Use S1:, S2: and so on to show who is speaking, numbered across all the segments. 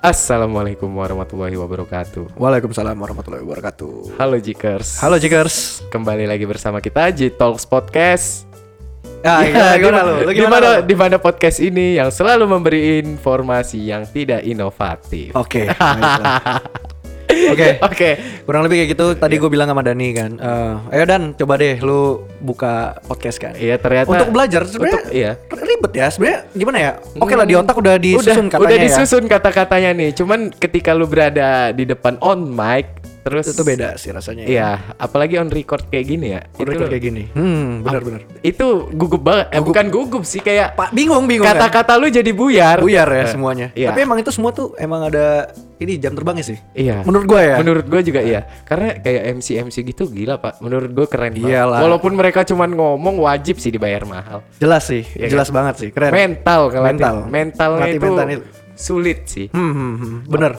S1: Assalamualaikum warahmatullahi wabarakatuh.
S2: Waalaikumsalam warahmatullahi wabarakatuh.
S1: Halo Jikers.
S2: Halo Jikers.
S1: Kembali lagi bersama kita di Talks Podcast.
S2: Ah,
S1: Ya,
S2: gimana,
S1: di-
S2: lu? Lu
S1: di
S2: gimana
S1: mana-
S2: lu?
S1: di mana podcast ini yang selalu memberi informasi yang tidak inovatif.
S2: Oke. baiklah. Oh, Oke.
S1: Oke.
S2: Kurang lebih kayak gitu. Tadi
S1: Iya.
S2: gue bilang sama Dani kan. eh, ayo Dan, coba deh lu buka podcast kan.
S1: Iya ternyata
S2: Untuk belajar
S1: Untuk
S2: sebenarnya
S1: iya.
S2: ribet ya. Sebenarnya gimana ya? Oke lah di otak udah disusun
S1: udah,
S2: katanya
S1: udah
S2: ya.
S1: disusun kata-katanya nih. Cuman ketika lu berada di depan on mic terus
S2: Itu tuh beda sih rasanya. ya.
S1: Iya, apalagi on record kayak gini ya.
S2: Udah
S1: itu,
S2: kayak gini. Hmm, benar-benar.
S1: itu gugup banget. Eh, bukan gugup sih kayak
S2: Pak bingung bingung. kan?
S1: kata-kata lu jadi buyar.
S2: buyar ya
S1: Eh,
S2: semuanya.
S1: iya.
S2: Tapi emang itu semua tuh emang ada ini jam terbangnya sih.
S1: Iya.
S2: Menurut gua ya.
S1: Menurut gue juga iya. Karena kayak MC MC gitu gila pak. Menurut gue keren banget.
S2: Iyalah.
S1: Walaupun mereka cuman ngomong wajib sih dibayar mahal.
S2: jelas sih, jelas banget sih. Keren.
S1: Iya, Mental kalau
S2: Mental.
S1: mentalnya
S2: Ngelatih
S1: itu
S2: mental itu.
S1: sulit sih.
S2: Hmm, hmm, hmm, bener.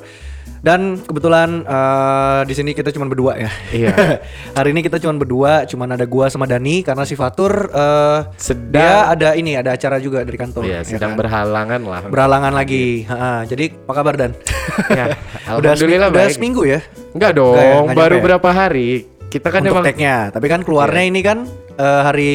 S2: Dan kebetulan eh, di sini kita cuma berdua ya.
S1: Iya.
S2: Hari ini kita cuma berdua, cuma ada gua sama Dani karena si Fatur eh,
S1: Sedang-
S2: dia ada ini, ada acara juga dari kantor.
S1: Iya
S2: ya
S1: sedang
S2: kan?
S1: berhalangan lah.
S2: berhalangan lagi. Ha, jadi apa kabar Dan?
S1: Ya,
S2: udah, seminggu,
S1: alhamdulillah
S2: udah
S1: baik.
S2: seminggu ya
S1: Enggak dong.
S2: Enggak ya, enggak
S1: baru
S2: nyampe ya?
S1: berapa hari? Kita kan
S2: untuk
S1: emang Iya.
S2: tag-nya. Tapi kan keluarnya ini kan eh, hari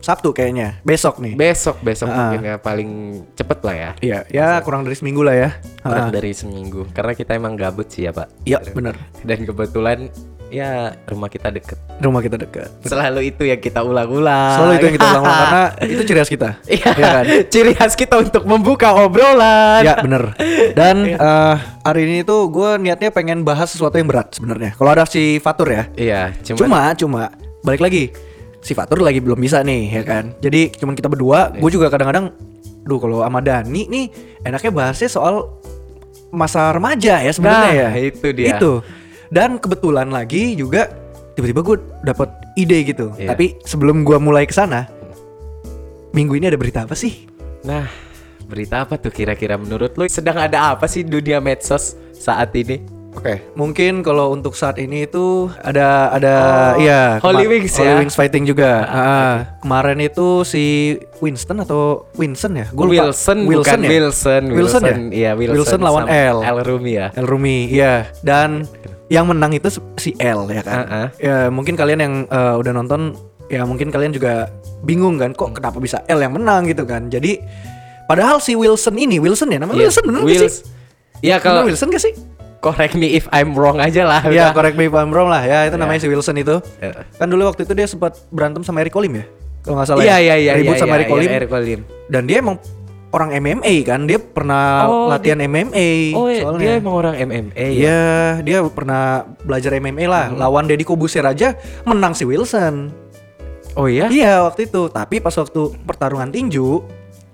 S2: Sabtu kayaknya, besok nih.
S1: besok besok
S2: Ah.
S1: mungkin ya paling cepet lah ya.
S2: Iya, ya kurang dari seminggu lah ya.
S1: Kurang
S2: Ha,
S1: dari seminggu. Karena kita emang gabut sih ya pak.
S2: Iya, bener.
S1: Dan kebetulan ya rumah kita deket.
S2: Rumah kita dekat.
S1: Selalu itu yang kita ulang-ulang.
S2: Selalu itu yang kita ulang-ulang karena itu ciri khas kita.
S1: Iya
S2: Iya kan?
S1: Ciri khas kita untuk membuka obrolan.
S2: Ya bener Dan eh, hari ini tuh gue niatnya pengen bahas sesuatu yang berat sebenarnya. Kalau ada si Fatur ya
S1: Iya, cuman
S2: Cuma cuma balik lagi Si Fatur lagi belum bisa nih ya kan Jadi cuman kita berdua Gue juga kadang-kadang Duh kalau sama Dani nih Enaknya bahasnya soal Masa remaja ya sebenarnya
S1: Nah,
S2: ya
S1: itu dia.
S2: Itu Dan kebetulan lagi juga Tiba-tiba gue dapet ide gitu
S1: Iya.
S2: Tapi sebelum gue mulai ke sana Minggu ini ada berita apa sih?
S1: nah, berita apa tuh kira-kira menurut lu sedang ada apa sih dunia medsos saat ini?
S2: Oke, mungkin kalau untuk saat ini itu ada ada
S1: Oh,
S2: iya
S1: Holy
S2: kema-
S1: Wings
S2: Holy
S1: ya?
S2: Wings fighting juga. Ah, Kemarin itu si Winston atau Winston ya? Gua lupa.
S1: Wilson, bukan
S2: Wilson ya?
S1: Wilson,
S2: Wilson, ya?
S1: Iya, Wilson,
S2: lawan
S1: sama
S2: L.
S1: L Rumi ya.
S2: El Rumi, iya. Dan yang menang itu se- si L ya kan.
S1: Ah, ah.
S2: Ya mungkin kalian yang eh, udah nonton ya mungkin kalian juga bingung kan kok kenapa bisa L yang menang gitu kan. Jadi padahal si Wilson ini Wilson ya namanya
S1: Iya,
S2: Wilson bener gak
S1: Wils-
S2: sih?
S1: Ya
S2: Bener
S1: kalau
S2: Wilson gak sih?
S1: correct me if I'm wrong aja lah. udah.
S2: Ya, correct me if I'm wrong lah. Ya,
S1: Iya.
S2: itu namanya si Wilson itu.
S1: Ya.
S2: Kan dulu waktu itu dia sempat berantem sama Eric Olim ya. Kalau nggak salah.
S1: Iya,
S2: ya.
S1: iya, iya,
S2: Ribut
S1: iya,
S2: sama
S1: iya,
S2: Eric
S1: iya,
S2: Olim.
S1: Eric Olim.
S2: Dan dia emang orang MMA kan. Dia pernah
S1: Oh,
S2: latihan MMA
S1: Oh, iya,
S2: soalnya.
S1: dia emang orang MMA
S2: Iya,
S1: ya.
S2: dia pernah belajar MMA lah.
S1: Hmm.
S2: Lawan Deddy Kobuser aja menang si Wilson.
S1: Oh iya.
S2: Iya, waktu itu. Tapi pas waktu pertarungan tinju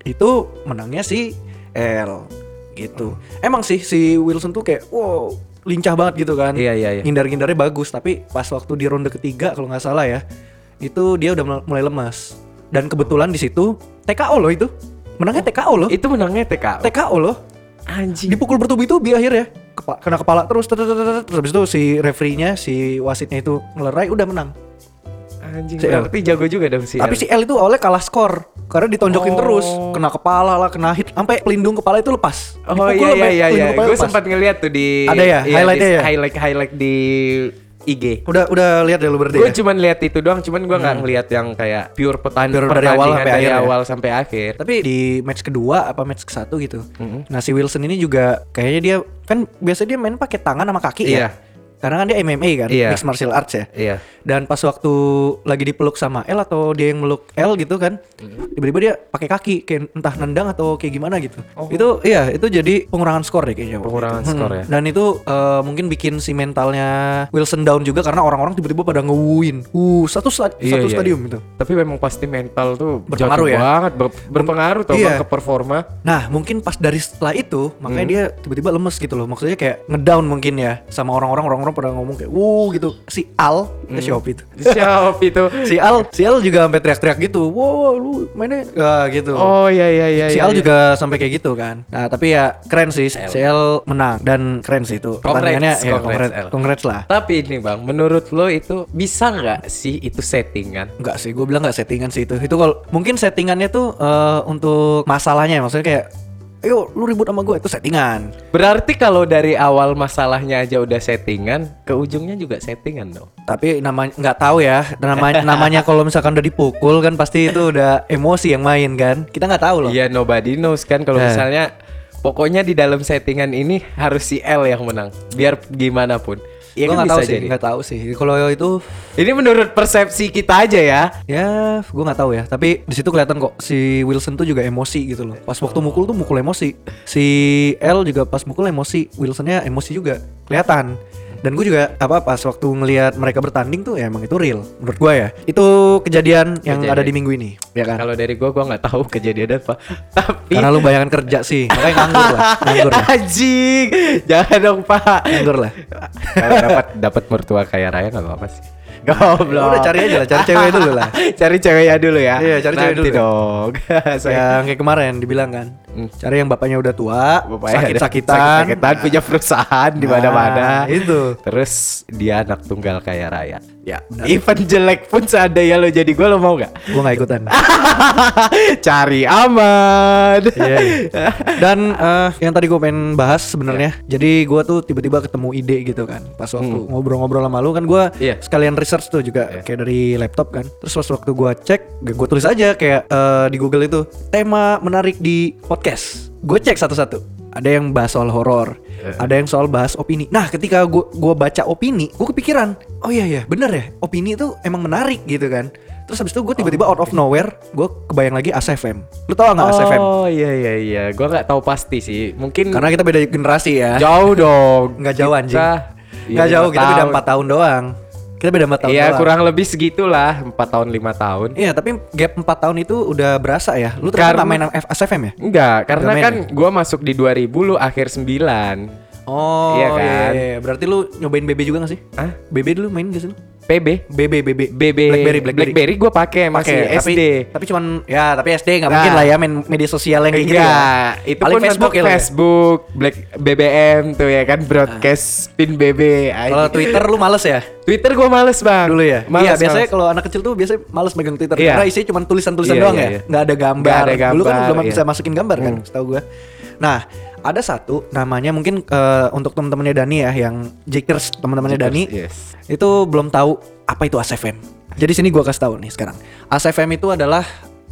S2: itu menangnya si L gitu. Emang sih si Wilson tuh kayak wow, lincah banget gitu kan.
S1: Iya, iya, iya.
S2: Ngindar-ngindarnya bagus, tapi pas waktu di ronde ketiga kalau nggak salah ya, itu dia udah mul- mulai lemas. Dan kebetulan di situ TKO loh itu. Menangnya
S1: Oh.
S2: TKO loh.
S1: Itu menangnya TK.
S2: TKO loh.
S1: Anjing.
S2: Dipukul bertubi-tubi akhirnya. Kepa- kena kepala terus terus terus terus, terus habis itu si referee-nya, si wasitnya itu ngelerai udah menang.
S1: Anjing.
S2: Si L.
S1: Berarti jago juga dong si
S2: Tapi
S1: L.
S2: si L itu awalnya kalah skor karena ditonjokin
S1: Oh.
S2: terus, kena kepala lah, kena hit, sampai pelindung kepala itu lepas.
S1: Oh iya iya
S2: Dipukul sampai
S1: iya, iya.
S2: pelindung kepala
S1: gue
S2: lepas.
S1: sempat ngeliat tuh di
S2: Ada ya,
S1: iya,
S2: highlight-nya
S1: di
S2: ya?
S1: highlight highlight di IG.
S2: Udah udah lihat deh lu berarti.
S1: Gue
S2: ya? Hmm.
S1: cuman lihat itu doang, cuman gue nggak ngeliat yang kayak pure petan
S2: Pure dari
S1: pertandingan
S2: awal sampai
S1: dari
S2: akhir ya?
S1: awal sampai akhir.
S2: Tapi di match kedua apa match ke satu gitu. Nah si Wilson ini juga kayaknya dia kan biasanya dia main pakai tangan sama kaki
S1: Iya.
S2: ya. Karena kan dia MMA kan,
S1: Iya.
S2: mixed martial arts ya.
S1: Iya.
S2: Dan pas waktu lagi dipeluk sama L atau dia yang meluk L gitu kan,
S1: Mm-hmm.
S2: tiba-tiba dia pakai kaki kayak entah nendang atau kayak gimana gitu. Itu iya, itu jadi pengurangan skor deh kayaknya.
S1: Oh.
S2: waktu
S1: Pengurangan
S2: itu.
S1: skor ya?
S2: Dan itu eh, mungkin bikin si mentalnya Wilson down juga karena orang-orang tiba-tiba pada ngewuin. Uh, satu sta-
S1: Iya,
S2: satu
S1: iya,
S2: stadium gitu.
S1: Tapi memang pasti mental tuh
S2: Berpengaruh
S1: jatuh
S2: ya?
S1: banget, ber- berpengaruh tau
S2: Iya.
S1: Bang, ke performa.
S2: Nah, mungkin pas dari setelah itu, makanya dia
S1: Mm-hmm.
S2: tiba-tiba lemes gitu loh. Maksudnya kayak ngedown mungkin ya sama orang-orang orang-orang pada ngomong kayak, "Wuh" gitu. Si Al, eh,
S1: Mm-hmm.
S2: si Opit.
S1: Siap itu.
S2: si Al, si Al juga sampai teriak-teriak gitu. Wow, lu mainnya ah, gitu.
S1: Oh iya iya iya.
S2: si
S1: iya,
S2: Al
S1: iya.
S2: juga sampai kayak gitu kan. Nah, tapi ya keren sih. Si Al menang dan keren sih itu. Pertandingannya
S1: Congrats,
S2: ya
S1: congrats,
S2: congrats,
S1: Al.
S2: congrats lah.
S1: Tapi ini bang, menurut lo itu bisa nggak sih itu settingan?
S2: Enggak sih, gue bilang enggak settingan sih itu. Itu kalau mungkin settingannya tuh eh, untuk masalahnya maksudnya kayak ayo lu ribut sama gue itu settingan
S1: Berarti kalau dari awal masalahnya aja udah settingan, ke ujungnya juga settingan dong.
S2: tapi namanya nggak tahu ya namanya namanya kalau misalkan udah dipukul kan pasti itu udah emosi yang main kan kita nggak tahu loh
S1: Iya nobody knows kan kalau
S2: Eh.
S1: misalnya pokoknya di dalam settingan ini harus si L yang menang biar gimana pun. Iya kan
S2: Gua nggak
S1: bisa
S2: tahu sih
S1: jadi.
S2: nggak tahu sih kalau itu
S1: Ini menurut persepsi kita aja ya.
S2: ya gue nggak tahu ya tapi di situ kelihatan kok si Wilson tuh juga emosi gitu loh pas waktu mukul tuh mukul emosi si L juga pas mukul emosi Wilsonnya emosi juga kelihatan dan gue juga apa pas waktu ngelihat mereka bertanding tuh ya emang itu real menurut gue ya itu kejadian yang
S1: Kejadian.
S2: ada di minggu ini ya kan
S1: Kalau dari gua gua nggak tahu kejadian apa. Tapi
S2: karena lu bayangan kerja sih makanya nganggur lah nganggur
S1: ya?
S2: lah
S1: anjing. Jangan dong, Pak.
S2: nganggur lah
S1: Kalau dapat dapat mertua kayak Raya nggak apa-apa sih. Goblok.
S2: Ya Udah, cari aja lah, cari cewek dulu lah.
S1: cari ceweknya dulu ya.
S2: Iya, cari cewek
S1: Nanti
S2: dulu.
S1: dong. Saya
S2: yang kayak kemarin dibilang kan
S1: Hmm.
S2: cari yang bapaknya udah tua
S1: Bapaknya ada
S2: sakit-sakitan
S1: sakit-sakitan Nah. punya perusahaan di mana-mana
S2: Nah, itu.
S1: terus dia anak tunggal kaya raya ya even jelek pun seandainya lo jadi gue lo mau gak
S2: gue nggak ikutan
S1: cari aman
S2: Iya, iya. Dan eh, yang tadi gue pengen bahas sebenarnya, jadi gue tuh tiba-tiba ketemu ide gitu kan, pas waktu ngobrol-ngobrol sama lu kan gue
S1: Iya.
S2: sekalian research tuh juga
S1: Iya.
S2: kayak dari laptop kan, terus pas waktu gue cek, gue tulis aja kayak eh, di Google itu tema menarik di podcast, gue cek satu-satu. Ada yang bahas soal horor, ada yang soal bahas opini. Nah, ketika gue gua baca opini, gue kepikiran, oh iya ya, bener ya, opini itu emang menarik gitu kan. Terus habis itu gue tiba-tiba out of nowhere, gue kebayang lagi ASFM. Lu tau nggak ASFM?
S1: oh iya iya iya gue nggak tahu pasti sih mungkin
S2: Karena kita beda generasi ya.
S1: jauh dong
S2: Nggak jauh anjing.
S1: Kita- Iya,
S2: Nggak jauh,
S1: lima
S2: kita beda
S1: tahun.
S2: 4 tahun doang. Kita beda 4 tahun
S1: iya
S2: doang.
S1: kurang lebih segitulah 4 tahun 5 tahun
S2: Iya, tapi gap 4 tahun itu udah berasa ya. Lu
S1: Karena-
S2: ternyata nggak main F- SFM ya?
S1: Enggak, karena
S2: Domain
S1: kan gue masuk di 2000 lu akhir 9
S2: Oh,
S1: Iya
S2: iya
S1: kan?
S2: iya. Berarti lu nyobain BB juga gak sih?
S1: Hah?
S2: BB dulu main gak sih lu?
S1: PB
S2: BB, BB.
S1: BB
S2: Blackberry, Blackberry.
S1: gue pakai masih SD.
S2: Pakai, tapi, tapi cuman ya tapi SD nggak
S1: Nah.
S2: mungkin lah ya main media sosial yang kayak gitu ya.
S1: Enggak, itu
S2: Paling
S1: pun Facebook,
S2: ya lu ya?
S1: Facebook, Black BBM tuh ya kan broadcast pin BB. anjing.
S2: Ah. Kalau Twitter lu males ya?
S1: Ah, Twitter gue males bang.
S2: Dulu ya?
S1: Males,
S2: iya, biasanya
S1: males.
S2: kalau anak kecil tuh biasanya males megang Twitter
S1: Iya.
S2: Karena isinya cuma tulisan-tulisan
S1: Iya,
S2: doang
S1: iya, iya.
S2: ya Nggak ada gambar
S1: Nggak ada
S2: Dulu kan
S1: gambar,
S2: belum
S1: iya.
S2: bisa masukin gambar kan setahu gua Nah ada satu namanya mungkin eh, untuk temen-temennya Dani ya Yang Jakers temen-temennya Dani
S1: Gitu Yes. Oh,
S2: Itu belum tahu apa itu ASFM Jadi sini gua kasih tahu nih sekarang ASFM itu adalah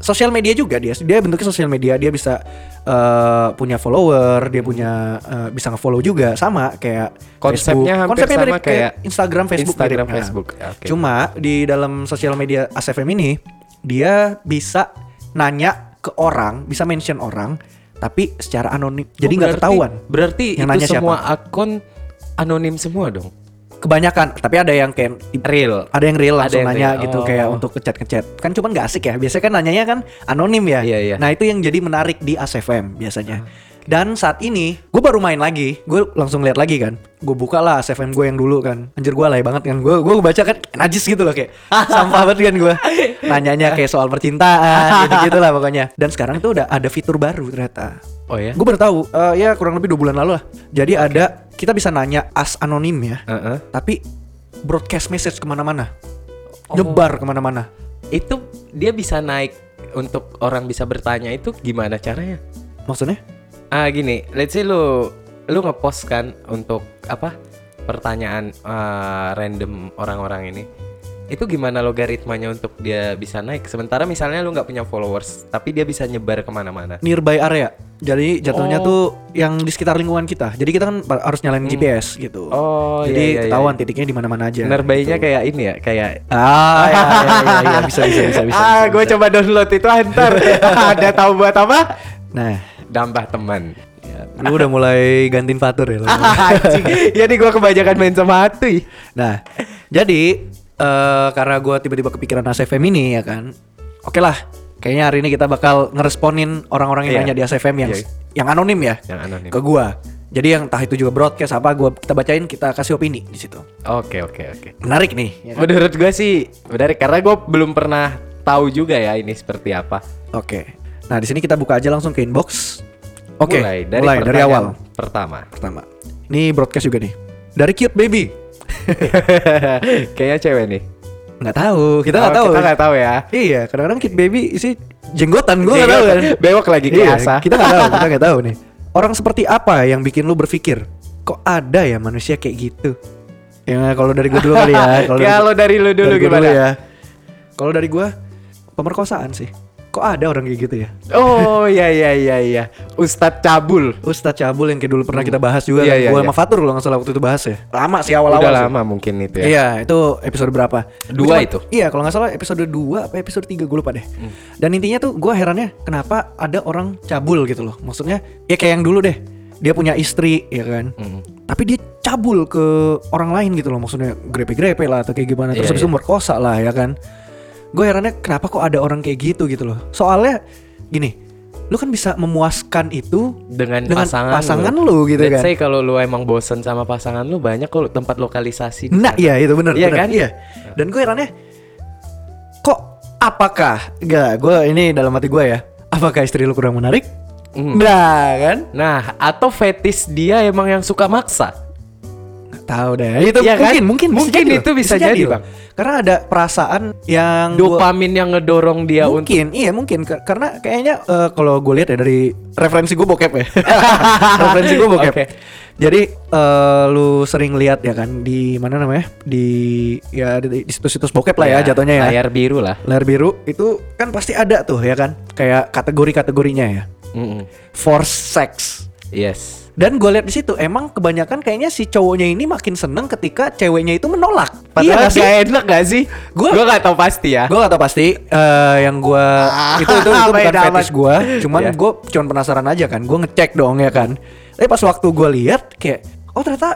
S2: sosial media juga dia dia bentuknya sosial media dia bisa eh, punya follower dia punya eh, bisa nge-follow juga sama kayak
S1: Konsepnya
S2: Facebook.
S1: hampir
S2: Konsepnya
S1: sama
S2: mirip
S1: kayak
S2: Instagram Facebook mirip.
S1: Instagram
S2: Nah,
S1: Facebook. Ya, oke.
S2: Cuma di dalam sosial media ASFM ini dia bisa nanya ke orang, bisa mention orang, tapi secara anonim.
S1: Oh,
S2: Jadi nggak
S1: berarti-
S2: ketahuan.
S1: Berarti
S2: Yang
S1: itu
S2: nanya siapa?
S1: semua akun anonim semua dong.
S2: Kebanyakan, tapi ada yang kayak
S1: Real.
S2: ada yang
S1: Ada
S2: real langsung
S1: yang
S2: nanya
S1: real,
S2: gitu
S1: oh.
S2: kayak untuk ngechat ngechat kan cuman nggak asik ya biasanya kan nanyanya kan anonim ya
S1: Iya, iya. Ah,
S2: nah itu yang jadi menarik di ASFM biasanya dan saat ini gue baru main lagi gue langsung lihat lagi kan gue buka lah ASFM gue yang dulu kan anjir gue alay banget kan gue gue baca kan najis gitu loh kayak sampah banget kan gue nanyanya kayak soal percintaan gitu gitulah pokoknya dan sekarang tuh udah ada fitur baru ternyata
S1: Oh ya.
S2: gue baru tahu eh, ya kurang lebih dua bulan lalu lah jadi ada kita bisa nanya as anonim ya
S1: Heeh.
S2: tapi broadcast message kemana-mana
S1: Oh.
S2: nyebar kemana-mana
S1: Itu dia bisa naik untuk orang bisa bertanya itu gimana caranya?
S2: maksudnya
S1: Ah gini, let's say lu lu ngepost kan untuk apa pertanyaan eh, random orang-orang ini. Itu gimana logaritmanya untuk dia bisa naik? Sementara misalnya lu nggak punya followers, tapi dia bisa nyebar kemana-mana.
S2: nearby area jadi
S1: Oh.
S2: jatuhnya
S1: Hmm.
S2: tuh yang di sekitar lingkungan kita jadi kita kan pa- harus nyalain GPS gitu
S1: Oh,
S2: jadi
S1: iya, iya,
S2: ketahuan titiknya di mana-mana aja
S1: Nerbaynya kayak ini ya, kayak
S2: ah iya, iya, iya, iya, bisa bisa bisa bisa,
S1: ah,
S2: bisa,
S1: gue
S2: bisa.
S1: coba download itu antar. Ada tahu buat apa?
S2: nah
S1: Nambah teman.
S2: lu udah mulai gantiin fatur ya lu.
S1: Anjing. ya nih gue kebanyakan main sama Atuy.
S2: Nah, jadi eh karena gue tiba-tiba kepikiran ACFM ini ya kan, oke lah, kayaknya hari ini kita bakal ngeresponin orang-orang
S1: Iya.
S2: yang nanya di ACFM yang
S1: Iya.
S2: yang anonim ya,
S1: Yang anonim.
S2: ke gue. Jadi yang entah itu juga broadcast apa gue kita bacain kita kasih opini di situ.
S1: Oke, oke, oke.
S2: Menarik nih. ya kan?
S1: Menurut gue sih menarik karena gue belum pernah tahu juga ya ini seperti apa.
S2: Oke. Nah di sini kita buka aja langsung ke inbox. Oke.
S1: mulai
S2: Mulai,
S1: dari,
S2: dari
S1: pertanyaan
S2: awal.
S1: Pertama.
S2: Pertama. Ini broadcast juga nih. Dari cute baby.
S1: Kayaknya cewek nih.
S2: nggak tahu kita nggak
S1: Oh,
S2: tahu
S1: Kita nggak tahu ya.
S2: iya kadang-kadang kid baby isi jenggotan gue nggak tahu
S1: Jenggot,
S2: kan
S1: Bewok lagi kayak
S2: Iya,
S1: Asa.
S2: kita nggak tahu, kita nggak tahu nih. Orang seperti apa yang bikin lu berpikir kok ada ya manusia kayak gitu? Ya kalau dari gue dulu kali ya.
S1: Ah, Kalau dari lu dulu
S2: dari gua
S1: gimana?
S2: ya. Kalau dari gue pemerkosaan sih. Kok ada orang kayak gitu ya?
S1: Oh iya iya iya iya. Ustadz Cabul.
S2: Ustadz Cabul yang kayak dulu pernah kita bahas juga
S1: Iya,
S2: kan.
S1: iya,
S2: Gue
S1: iya.
S2: sama Fatur kalau nggak salah waktu itu bahas ya. Lama sih awal-awal.
S1: Udah
S2: sih.
S1: lama mungkin itu ya.
S2: Iya, itu episode berapa?
S1: Dua
S2: Cuma-
S1: itu. Hmm.
S2: Iya, kalau nggak salah episode 2 apa episode 3 gue lupa deh. Dan intinya tuh gue herannya kenapa ada orang cabul gitu loh. Maksudnya ya kayak yang dulu deh. Dia punya istri ya kan.
S1: Hmm.
S2: Tapi dia cabul ke orang lain gitu loh. Maksudnya grepe-grepe lah atau kayak gimana. Terus
S1: Iya,
S2: habis
S1: iya.
S2: itu merkosa lah ya kan. Gue herannya kenapa kok ada orang kayak gitu gitu loh. Soalnya gini, lu kan bisa memuaskan itu
S1: Dengan,
S2: Dengan
S1: pasangan,
S2: pasangan lu gitu
S1: Let's
S2: kan.
S1: say kalau lu emang bosen sama pasangan lu banyak kok tempat lokalisasi. di
S2: Nah
S1: sana.
S2: iya itu bener
S1: Iya
S2: bener.
S1: kan?
S2: Iya. Dan gue herannya Kok apakah Gak gue ini dalam hati gue ya Apakah istri lu kurang menarik?
S1: Hmm.
S2: Nah kan
S1: Nah, atau fetis dia emang yang suka maksa.
S2: Gak tahu deh Itu
S1: Iya kan?
S2: mungkin mungkin bisa
S1: Mungkin
S2: jadi loh.
S1: itu bisa jadi,
S2: loh.
S1: Bang.
S2: Karena ada perasaan yang gua-
S1: Dopamin yang ngedorong dia untuk
S2: mungkin iya mungkin Ka- karena kayaknya eh, kalau gue lihat ya dari referensi gue bokep ya referensi gue bokep
S1: Oke.
S2: jadi eh, lu sering lihat ya kan di mana namanya di ya di di situs-situs bokep lah ya,
S1: Iya.
S2: jatuhnya ya
S1: Layar biru lah.
S2: layar biru itu kan pasti ada tuh ya kan kayak kategori-kategorinya ya
S1: Mm-mm.
S2: for sex
S1: Hmm, Yes.
S2: dan gue lihat di situ emang kebanyakan kayaknya si cowoknya ini makin seneng ketika ceweknya itu menolak
S1: Padahal
S2: Padahal
S1: gak enak gak sih? Gue
S2: Iya Gua-
S1: gak tau pasti ya.
S2: gue gak tau pasti eh, yang gue itu itu, itu
S1: Apa ya,
S2: bukan
S1: damat.
S2: fetish gue cuman
S1: Iya.
S2: gue cuman penasaran aja kan gue ngecek dong ya kan tapi pas waktu gue lihat kayak oh ternyata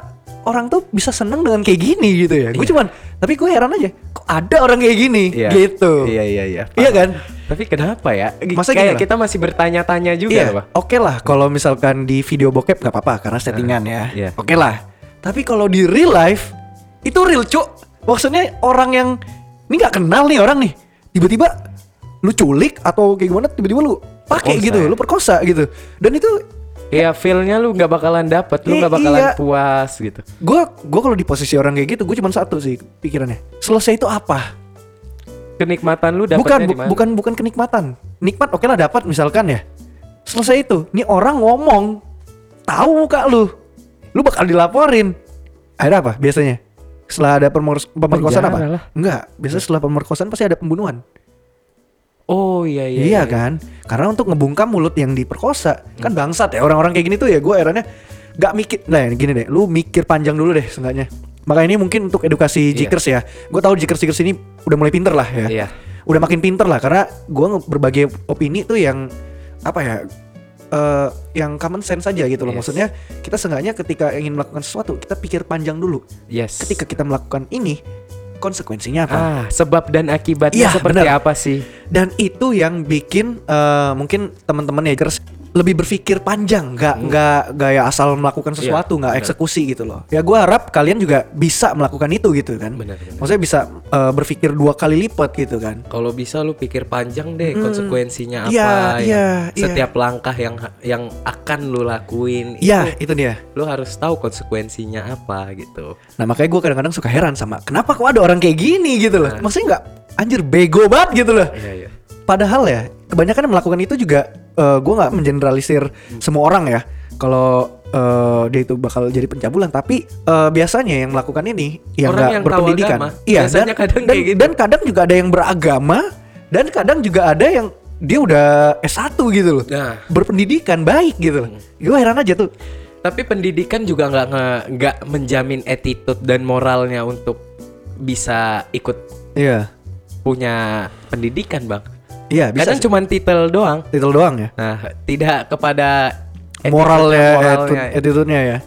S2: orang tuh bisa seneng dengan kayak gini gitu ya gue cuman tapi gue heran aja kok ada orang kayak gini
S1: Iya.
S2: gitu
S1: Iya iya iya.
S2: iya kan
S1: Tapi kenapa ya? G-
S2: Masa gini
S1: kayak
S2: lah.
S1: kita masih bertanya-tanya juga
S2: Iya,
S1: loh, Pak.
S2: Oke lah kalau misalkan di video bokep nggak apa-apa karena settingan ya.
S1: Iya.
S2: Oke lah. Tapi kalau di real life itu real cuk. Maksudnya orang yang ini nggak kenal nih orang nih. Tiba-tiba lu culik atau kayak gimana tiba-tiba lu pakai
S1: Perkosa
S2: gitu,
S1: ya.
S2: lu perkosa gitu. Dan itu
S1: Iya, feel-nya lu nggak bakalan dapet, lu
S2: I-
S1: nggak bakalan
S2: iya.
S1: puas gitu.
S2: gua gua kalau di posisi orang kayak gitu, gua cuma satu sih pikirannya. Selesai itu apa?
S1: Kenikmatan lu dapetnya
S2: bukan bu-
S1: di mana?
S2: bukan bukan kenikmatan nikmat oke lah dapat misalkan ya selesai itu nih orang ngomong tahu muka lu lu bakal dilaporin akhirnya apa biasanya setelah ada pemer- pemerkosaan
S1: Penjara
S2: apa
S1: lah.
S2: enggak biasanya setelah pemerkosaan pasti ada pembunuhan
S1: Oh iya iya.
S2: iya kan karena untuk ngebungkam mulut yang diperkosa kan bangsat ya orang-orang kayak gini tuh ya gue akhirnya nggak mikir nah gini deh lu mikir panjang dulu deh seenggaknya maka ini mungkin untuk edukasi
S1: Iya.
S2: jikers ya gue tahu jikers jikers ini udah mulai pinter lah ya
S1: Iya.
S2: udah makin pinter lah karena gue berbagai opini tuh yang apa ya eh, yang common sense aja gitu loh
S1: Yes.
S2: maksudnya kita seenggaknya ketika ingin melakukan sesuatu kita pikir panjang dulu
S1: Yes.
S2: ketika kita melakukan ini konsekuensinya apa
S1: ah, sebab dan akibatnya
S2: Iya,
S1: seperti
S2: benar.
S1: apa sih?
S2: dan itu yang bikin eh, mungkin teman-teman Yagers lebih berpikir panjang nggak nggak gaya asal melakukan sesuatu
S1: Hmm. Iya,
S2: nggak
S1: benar.
S2: eksekusi gitu loh ya gua harap kalian juga bisa melakukan itu gitu kan
S1: Benar, benar.
S2: maksudnya bisa eh, berpikir dua kali lipat gitu kan
S1: Kalau bisa lu pikir panjang deh
S2: Hmm.
S1: konsekuensinya apa
S2: Iya, iya,
S1: yang-
S2: iya.
S1: setiap langkah yang yang akan lu lakuin
S2: Iya
S1: itu
S2: itu dia
S1: lu harus tahu konsekuensinya apa gitu.
S2: Nah makanya gue kadang-kadang suka heran sama kenapa kok ada orang kayak gini gitu
S1: Nah.
S2: loh. Maksudnya nggak anjir bego banget gitu loh.
S1: Iya iya.
S2: Padahal ya kebanyakan yang melakukan itu juga eh, gue nggak mengeneralisir semua orang ya. Kalau eh, dia itu bakal jadi pencabulan tapi eh, biasanya yang melakukan ini yang
S1: Orang yang tahu
S2: nggak berpendidikan.
S1: agama.
S2: Iya
S1: Biasanya
S2: dan,
S1: kadang
S2: dan,
S1: kayak gitu.
S2: dan kadang juga ada yang beragama dan kadang juga ada yang dia udah S1 gitu loh.
S1: Nah. Hmm.
S2: Berpendidikan baik gitu loh. Gue heran aja tuh.
S1: Tapi pendidikan juga nggak nge- nggak menjamin attitude dan moralnya untuk bisa ikut
S2: Iya.
S1: punya pendidikan, Bang.
S2: Iya bisa
S1: Kadang cuman titel doang.
S2: titel doang ya.
S1: Nah, tidak kepada attitude
S2: moralnya,
S1: dan
S2: moralnya attitude-nya ya.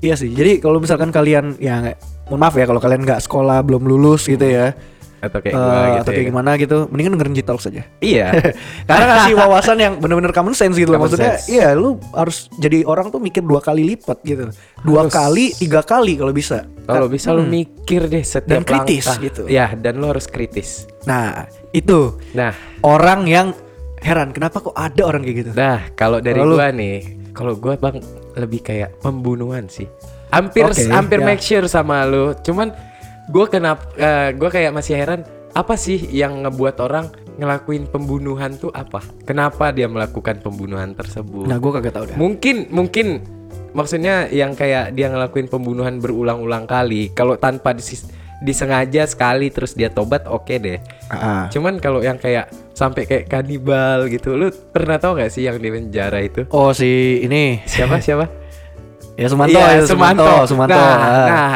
S2: Iya sih. Jadi kalau misalkan kalian ya nggak- mohon maaf ya kalau kalian nggak sekolah belum lulus gitu ya.
S1: atau kayak
S2: eh,
S1: gua gitu.
S2: atau kayak
S1: ya.
S2: gimana gitu, mendingan dengerin Jitalk saja.
S1: Iya.
S2: Karena ngasih wawasan yang bener-bener common sense gitu loh
S1: Common
S2: maksudnya.
S1: sense.
S2: Iya, lu harus jadi orang tuh mikir dua kali lipat gitu. Dua
S1: Harus.
S2: kali, tiga kali kalau bisa.
S1: Kalau bisa lu mikir deh setiap
S2: hmm. Dan kritis
S1: langkah.
S2: gitu.
S1: Ya, dan lu harus kritis.
S2: Nah, itu
S1: Nah,
S2: orang yang heran kenapa kok ada orang kayak gitu.
S1: nah kalau dari
S2: Kalau lu-
S1: gua nih, kalau gua Bang lebih kayak pembunuhan sih. Hampir
S2: Oke,
S1: hampir
S2: ya.
S1: make sure sama lu. Cuman gua kenapa eh, gua kayak masih heran apa sih yang ngebuat orang ngelakuin pembunuhan tuh apa? Kenapa dia melakukan pembunuhan tersebut?
S2: Nah, gue kagak tahu dah.
S1: Mungkin mungkin maksudnya yang kayak dia ngelakuin pembunuhan berulang-ulang kali. Kalau tanpa disis- disengaja sekali terus dia tobat oke deh.
S2: Ah,
S1: Cuman kalau yang kayak sampai kayak kanibal gitu, lu pernah tau gak sih yang di penjara itu?
S2: Oh si ini
S1: Siapa siapa?
S2: ya Sumanto,
S1: Iya,
S2: ya, Sumanto, Sumanto.
S1: Nah,
S2: ah.
S1: nah,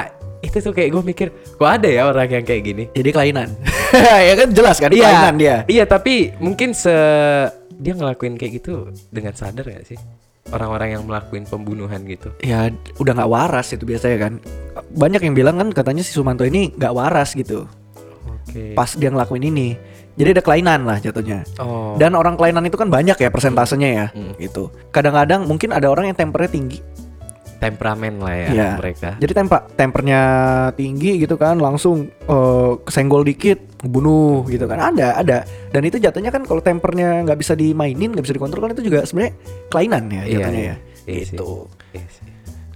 S1: itu tuh kayak gue mikir, kok ada ya orang yang kayak gini?
S2: Jadi kelainan. ya kan jelas kan kelainan dia.
S1: Iya, tapi mungkin se dia ngelakuin kayak gitu dengan sadar gak sih? Orang-orang yang melakuin pembunuhan gitu.
S2: Ya udah nggak waras itu biasanya kan. Banyak yang bilang kan katanya si Sumanto ini nggak waras gitu.
S1: Oke.
S2: Pas dia ngelakuin ini. Jadi ada kelainan lah jatuhnya.
S1: Oh.
S2: Dan orang kelainan itu kan banyak ya persentasenya ya
S1: Hmm.
S2: gitu. Kadang-kadang mungkin ada orang yang tempernya tinggi.
S1: temperamen lah ya
S2: Iya.
S1: mereka.
S2: Jadi tempa tempernya tinggi gitu kan langsung eh, kesenggol dikit bunuh gitu kan ada ada dan itu jatuhnya kan kalau tempernya nggak bisa dimainin nggak bisa dikontrol kan itu juga sebenarnya kelainan ya jatuhnya ya
S1: Iya sih.
S2: gitu.
S1: Iya sih.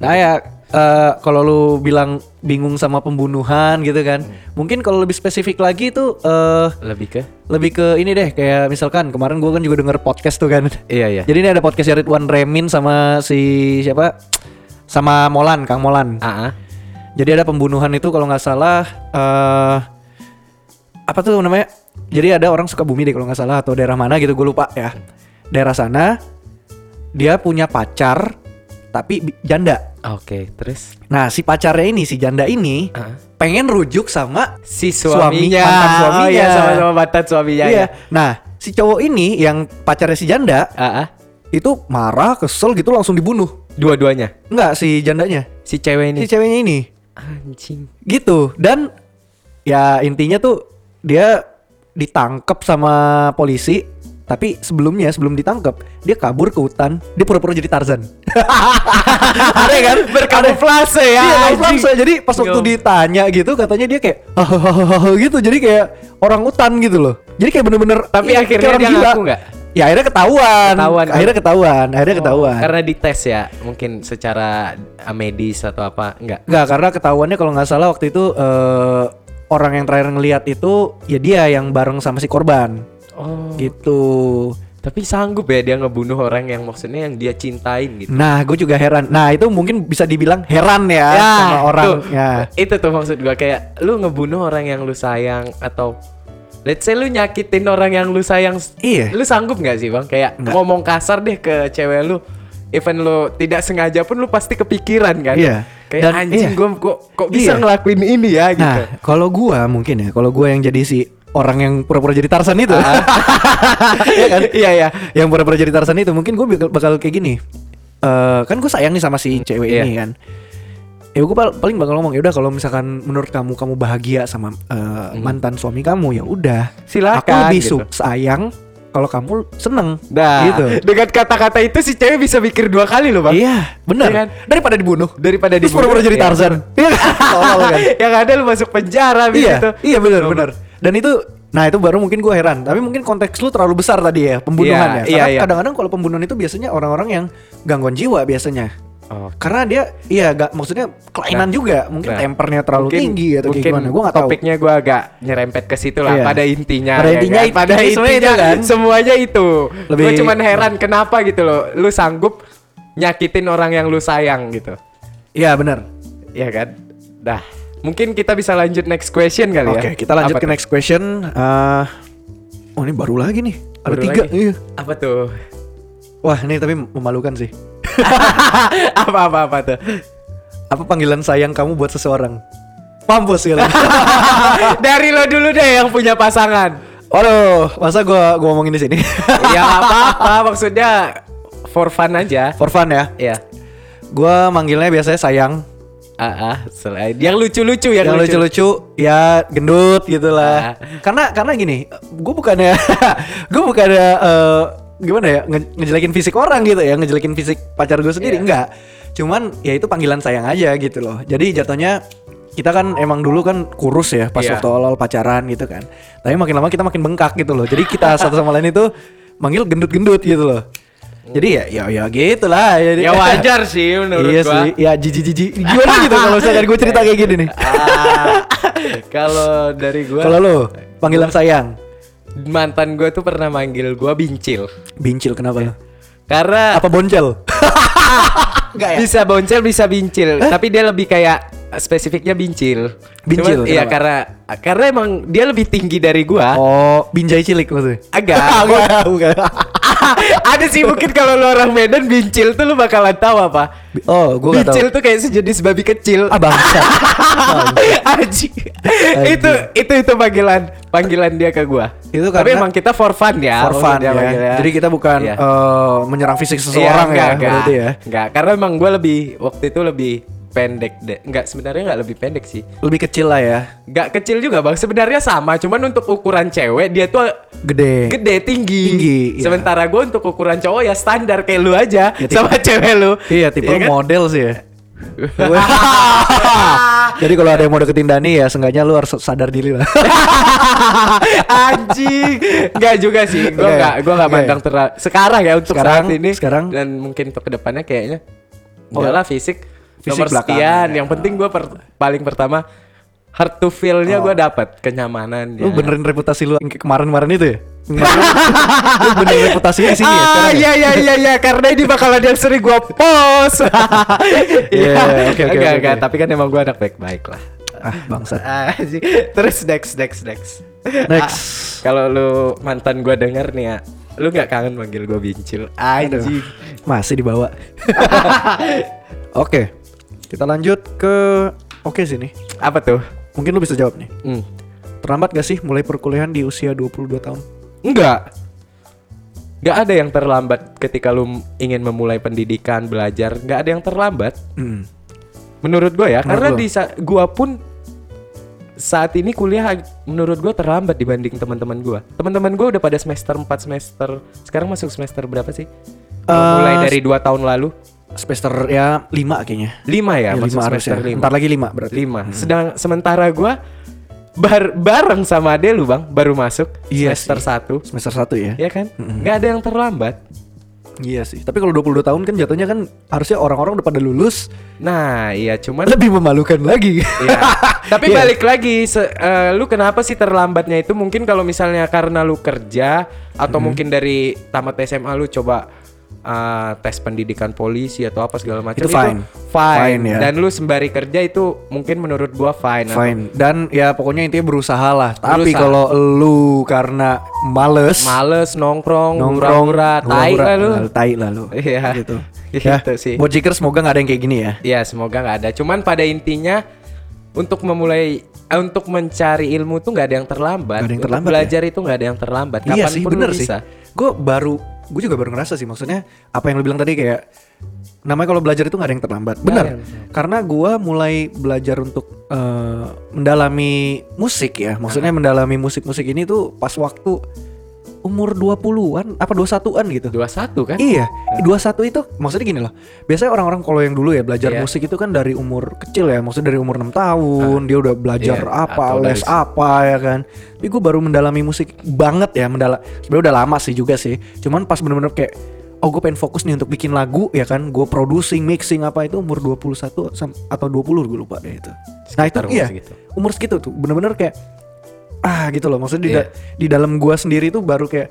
S2: Nah ya eh, kalau lu bilang bingung sama pembunuhan gitu kan
S1: Hmm.
S2: mungkin kalau lebih spesifik lagi itu eh
S1: Lebih ke
S2: lebih ke ini deh kayak misalkan kemarin gua kan juga denger podcast tuh kan.
S1: Iya, iya.
S2: Jadi ini ada podcast dari Ridwan Remin sama si siapa? Sama Molan, Kang Molan.
S1: Aa.
S2: Jadi ada pembunuhan itu kalau nggak salah eh apa tuh namanya? Jadi ada orang Sukabumi deh kalau nggak salah atau daerah mana gitu gue lupa ya. Daerah sana dia punya pacar tapi bi- janda.
S1: Oke, terus Ah,
S2: Nah si pacarnya ini si janda ini
S1: Aa.
S2: pengen rujuk sama
S1: si
S2: Suami,
S1: suaminya,
S2: mantan
S1: suaminya
S2: suaminya.
S1: sama-sama mantan suaminya. ya.
S2: dia. Nah si cowok ini yang pacarnya si janda
S1: Aa.
S2: itu marah kesel gitu langsung dibunuh.
S1: Dua-duanya.
S2: Enggak si jandanya,
S1: Si cewek ini.
S2: si ceweknya ini.
S1: Anjing.
S2: gitu dan ya intinya tuh dia ditangkap sama polisi tapi sebelumnya sebelum ditangkap dia kabur ke hutan dia pura-pura jadi Tarzan aneh kan
S1: Berkamuflase ya.
S2: Iya,
S1: anjing.
S2: kamuflase. jadi pas waktu
S1: Gokil.
S2: ditanya gitu katanya dia kayak gitu jadi kayak orang hutan gitu loh jadi kayak bener-bener
S1: Tapi
S2: iya,
S1: akhirnya
S2: kayak orang
S1: dia
S2: gila.
S1: ngaku nggak?
S2: ya akhirnya ketahuan,
S1: Ketahuan kan?
S2: akhirnya ketahuan akhirnya ketahuan
S1: Karena dites ya, mungkin secara uh, medis atau apa enggak.
S2: Nggak, karena ketahuannya kalau nggak salah waktu itu eh, orang yang terakhir ngelihat itu ya dia yang bareng sama si korban
S1: Oh.
S2: gitu.
S1: Tapi sanggup ya dia ngebunuh orang yang maksudnya yang dia cintain gitu.
S2: Nah, gue juga heran. Nah, itu mungkin bisa dibilang heran ya, sama orang.
S1: tuh.
S2: Ya.
S1: Itu tuh maksud gua kayak lu ngebunuh orang yang lu sayang atau let's say lu nyakitin orang yang lu sayang.
S2: Iya.
S1: Lu sanggup nggak sih, Bang? Kayak
S2: Nggak.
S1: ngomong kasar deh ke cewek lu. Even lu tidak sengaja pun lu pasti kepikiran kan?
S2: Iya.
S1: Kayak
S2: Dan-
S1: anjing
S2: iya.
S1: gua kok kok bisa
S2: Iya.
S1: ngelakuin ini ya gitu.
S2: Nah, kalau gua mungkin ya, kalau gua yang jadi si orang yang pura-pura jadi Tarzan itu.
S1: Ah.
S2: Iya kan? Iya ya, yang pura-pura jadi Tarzan itu mungkin gua bakal, bakal kayak gini. Eh, kan gue sayang nih sama si cewek
S1: Iya.
S2: ini kan. Ya gue paling bakal ngomong ya udah kalau misalkan menurut kamu kamu bahagia sama eh, mantan suami kamu ya udah.
S1: Hmm. Silakan,
S2: Aku lebih
S1: gitu.
S2: su- sayang kalau kamu seneng.
S1: Nah,
S2: gitu.
S1: dengan kata-kata itu si cewek bisa mikir dua kali loh, Bang.
S2: Iya, benar.
S1: Iya kan?
S2: Daripada dibunuh.
S1: Daripada
S2: Terus
S1: dibunuh,
S2: pura-pura jadi
S1: iya.
S2: Tarzan. Iya. kan? Tolol kan?
S1: yang ada lu masuk penjara
S2: iya,
S1: gitu.
S2: Iya benar benar. Dan itu nah itu baru mungkin gue heran, tapi mungkin konteks lu terlalu besar tadi ya
S1: Iya,
S2: pembunuhan ya.
S1: iya,
S2: Karena
S1: iya.
S2: kadang-kadang kalau pembunuhan itu biasanya orang-orang yang gangguan jiwa biasanya.
S1: Oh.
S2: Karena dia iya gak maksudnya kelainan juga, mungkin
S1: nah.
S2: tempernya terlalu tinggi atau kayak
S1: mungkin
S2: gimana. Gue gak tahu.
S1: topiknya gue agak nyerempet ke situ lah
S2: Iya.
S1: pada intinya
S2: Pada
S1: ya
S2: intinya
S1: kan?
S2: itu-
S1: pada
S2: itu
S1: intinya
S2: semuanya itu kan?
S1: semuanya itu Gue
S2: Lebih-
S1: cuman heran kenapa gitu loh lu sanggup nyakitin orang yang lu sayang gitu
S2: Iya benar.
S1: ya kan dah mungkin kita bisa lanjut next question kali
S2: Oke,
S1: ya
S2: kita lanjut
S1: Apa
S2: ke
S1: tuh?
S2: next question. Eh, oh ini baru lagi nih. Ada
S1: Baru
S2: tiga.
S1: lagi.
S2: Iya.
S1: apa tuh
S2: Wah ini tapi memalukan sih.
S1: apa apa apa tuh
S2: Apa panggilan sayang kamu buat seseorang? Mampus ya.
S1: dari lo dulu deh yang punya pasangan
S2: Oh. Waduh, masa gue gua ngomongin di sini?
S1: ya apa apa maksudnya for fun aja
S2: For fun ya.
S1: ya
S2: Gua manggilnya biasanya sayang.
S1: ah, ah, selain yang lucu-lucu yang,
S2: Yang lucu-lucu ya gendut gitu lah.
S1: Kan Ah.
S2: Karena karena gini, gue bukannya gue bukannya eh, gimana ya nge- ngejelekin fisik orang gitu ya, ngejelekin fisik pacar gue sendiri
S1: Iya.
S2: enggak. Cuman ya itu panggilan sayang aja gitu loh. Jadi jatuhnya kita kan emang dulu kan kurus ya pas
S1: Iya.
S2: waktu awal pacaran gitu kan. Tapi makin lama kita makin bengkak gitu loh. Jadi kita satu sama lain itu manggil gendut-gendut gitu loh. Jadi ya ya ya gitulah. Jadi-
S1: ya wajar sih menurut
S2: iya
S1: gua
S2: sih, ya jijik jijik gimana gitu kalau misalkan gue cerita kayak gini nih.
S1: Ah, kalau dari gua
S2: Kalau lo? Panggilan sayang.
S1: mantan gue tuh pernah manggil gue bincil
S2: Bincil kenapa lo?
S1: karena
S2: Apa boncel? Enggak ya?
S1: bisa boncel bisa bincil tapi dia lebih kayak spesifiknya bincil
S2: Bincil,
S1: Cuman, iya
S2: kenapa?
S1: karena karena emang dia lebih tinggi dari gua
S2: Oh, binjai cilik maksudnya.
S1: agak
S2: Enggak, bukan.
S1: ada sih mungkin kalau lu orang Medan bincil tuh lu bakalan tahu apa
S2: Oh, gua enggak tahu.
S1: bincil tuh kayak sejenis babi kecil
S2: Ah, bangsa.
S1: Anjing. itu itu itu panggilan panggilan dia ke gua.
S2: Itu
S1: Tapi
S2: karena-
S1: emang kita for fun ya.
S2: For fun
S1: maksudnya
S2: ya.
S1: panggilnya.
S2: Jadi kita bukan
S1: Iya.
S2: eh, menyerang fisik
S1: Iya,
S2: seseorang
S1: enggak,
S2: ya,
S1: enggak.
S2: berarti ya.
S1: Enggak, karena emang gua lebih waktu itu lebih pendek deh. Enggak, sebenarnya enggak lebih pendek sih.
S2: Lebih kecil lah ya.
S1: Enggak kecil juga, Bang. Sebenarnya sama, cuman untuk ukuran cewek dia tuh
S2: Gede.
S1: gede tinggi.
S2: Tinggi, iya.
S1: Sementara gua untuk ukuran cowok ya standar kayak lu aja
S2: Ya, tipe-
S1: sama cewek lu.
S2: Iya, tipe
S1: Iya
S2: lu
S1: kan?
S2: model sih ya. Jadi kalau ada yang mau deketin Dani ya seenggaknya lu harus sadar diri lah.
S1: Anjing, nggak juga sih. Gue
S2: Oke.
S1: nggak, gue nggak
S2: Oke.
S1: mandang terlalu. Sekarang ya untuk
S2: Sekarang-
S1: saat ini.
S2: sekarang.
S1: dan mungkin untuk kedepannya kayaknya.
S2: Oh.
S1: Udahlah fisik,
S2: Fisik
S1: nomor
S2: belakangan,
S1: sekian.
S2: ya.
S1: Yang penting gue paling pertama hard to feel-nya gue dapat kenyamanan.
S2: Oh. Lu benerin reputasi lu yang kayak kemarin-kemarin itu ya? lu benerin reputasinya di sini ya
S1: ah,
S2: sekarang ya?
S1: iya iya iya iya karena ini bakal ada yang sering gue post. Iya,
S2: oke, oke,
S1: enggak,
S2: oke,
S1: enggak,
S2: oke.
S1: tapi kan emang gue anak baik-baik lah.
S2: Ah, bangsa.
S1: Anjing. Terus next next next.
S2: Next.
S1: Kalau lu mantan gua denger nih ya, lu nggak kangen manggil gua bincil? Anjing.
S2: Masih dibawa. Oke. Kita lanjut ke Oke sih nih.
S1: Apa tuh?
S2: Mungkin lu bisa jawab nih.
S1: Hmm.
S2: Terlambat gak sih mulai perkuliahan di usia 22 tahun?
S1: Enggak. Enggak ada yang terlambat ketika lu ingin memulai pendidikan, belajar, nggak ada yang terlambat.
S2: Hmm.
S1: Menurut gua ya,
S2: Menurut
S1: karena
S2: lu?
S1: di sa- gua pun saat ini kuliah ag- menurut gua terlambat dibanding teman-teman gua. Teman-teman gua udah pada semester 4 semester. Sekarang masuk semester berapa sih?
S2: Eh,
S1: mulai dari dua tahun lalu.
S2: Semester ya 5 kayaknya.
S1: 5 ya,
S2: Ya,
S1: masuk
S2: lima harus
S1: semester
S2: ya.
S1: 5.
S2: Ntar lagi 5 berarti. Hmm.
S1: 5. Sedang sementara gua bar- bareng sama Ade lu, Bang, baru masuk
S2: Iya
S1: semester 1.
S2: sih. Semester 1 ya.
S1: Ya kan? nggak ada yang terlambat.
S2: Iya sih. Tapi kalau 22 tahun kan jatuhnya kan harusnya orang-orang udah pada lulus
S1: Nah, iya cuman
S2: lebih memalukan lagi.
S1: Iya. Tapi
S2: Iya.
S1: balik lagi, se- eh, lu kenapa sih terlambatnya itu? Mungkin kalau misalnya karena lu kerja atau
S2: Hmm.
S1: mungkin dari tamat SMA lu coba eh, tes pendidikan polisi atau apa segala macam
S2: Itu fine.
S1: fine.
S2: Fine, ya.
S1: Dan lu sembari kerja itu mungkin menurut gua fine. Atau
S2: Fine. Dan ya pokoknya intinya berusaha lah. Tapi
S1: Berusaha.
S2: kalau lu karena males,
S1: Males nongkrong,
S2: nongkrong,
S1: hura-hura, tai
S2: hura-hura,
S1: lah lu.
S2: nah, Tai lah lu.
S1: Iya.
S2: Gitu.
S1: Gitu sih.
S2: Buat Jikers semoga nggak ada yang kayak gini ya.
S1: Ya semoga nggak ada. Cuman pada intinya untuk memulai eh, untuk mencari ilmu tuh nggak ada yang terlambat.
S2: Nggak ada yang
S1: Untuk
S2: terlambat, ya?
S1: belajar itu nggak ada yang terlambat. Kapan
S2: iya sih,
S1: pun lu
S2: bener
S1: bisa.
S2: sih. Gue baru, gue juga baru ngerasa sih maksudnya apa yang lu bilang tadi kayak namanya kalau belajar itu nggak ada yang terlambat. Ya, Bener.
S1: ada yang
S2: Karena gue mulai belajar untuk eh, mendalami musik ya. Maksudnya mendalami musik-musik ini tuh pas waktu umur 20-an apa 21-an gitu.
S1: Dua satu kan?
S2: Iya, 21 itu maksudnya gini loh. Biasanya orang-orang kalau yang dulu ya belajar
S1: Iya.
S2: musik itu kan dari umur kecil ya, maksudnya dari umur 6 tahun dia udah belajar
S1: Iya,
S2: apa,
S1: atau
S2: les
S1: dari-
S2: apa ya kan. Tapi gue baru mendalami musik banget ya, mendala sebenarnya udah lama sih juga sih. Cuman pas bener-bener kayak oh gue pengen fokus nih untuk bikin lagu ya kan, gue producing, mixing apa itu umur 21 sam- atau 20 gue lupa deh itu. nah itu
S1: Sekitar umur
S2: iya,
S1: segitu.
S2: umur segitu tuh bener-bener kayak ah gitu loh maksudnya di,
S1: Iya.
S2: da- di dalam gua sendiri tuh baru kayak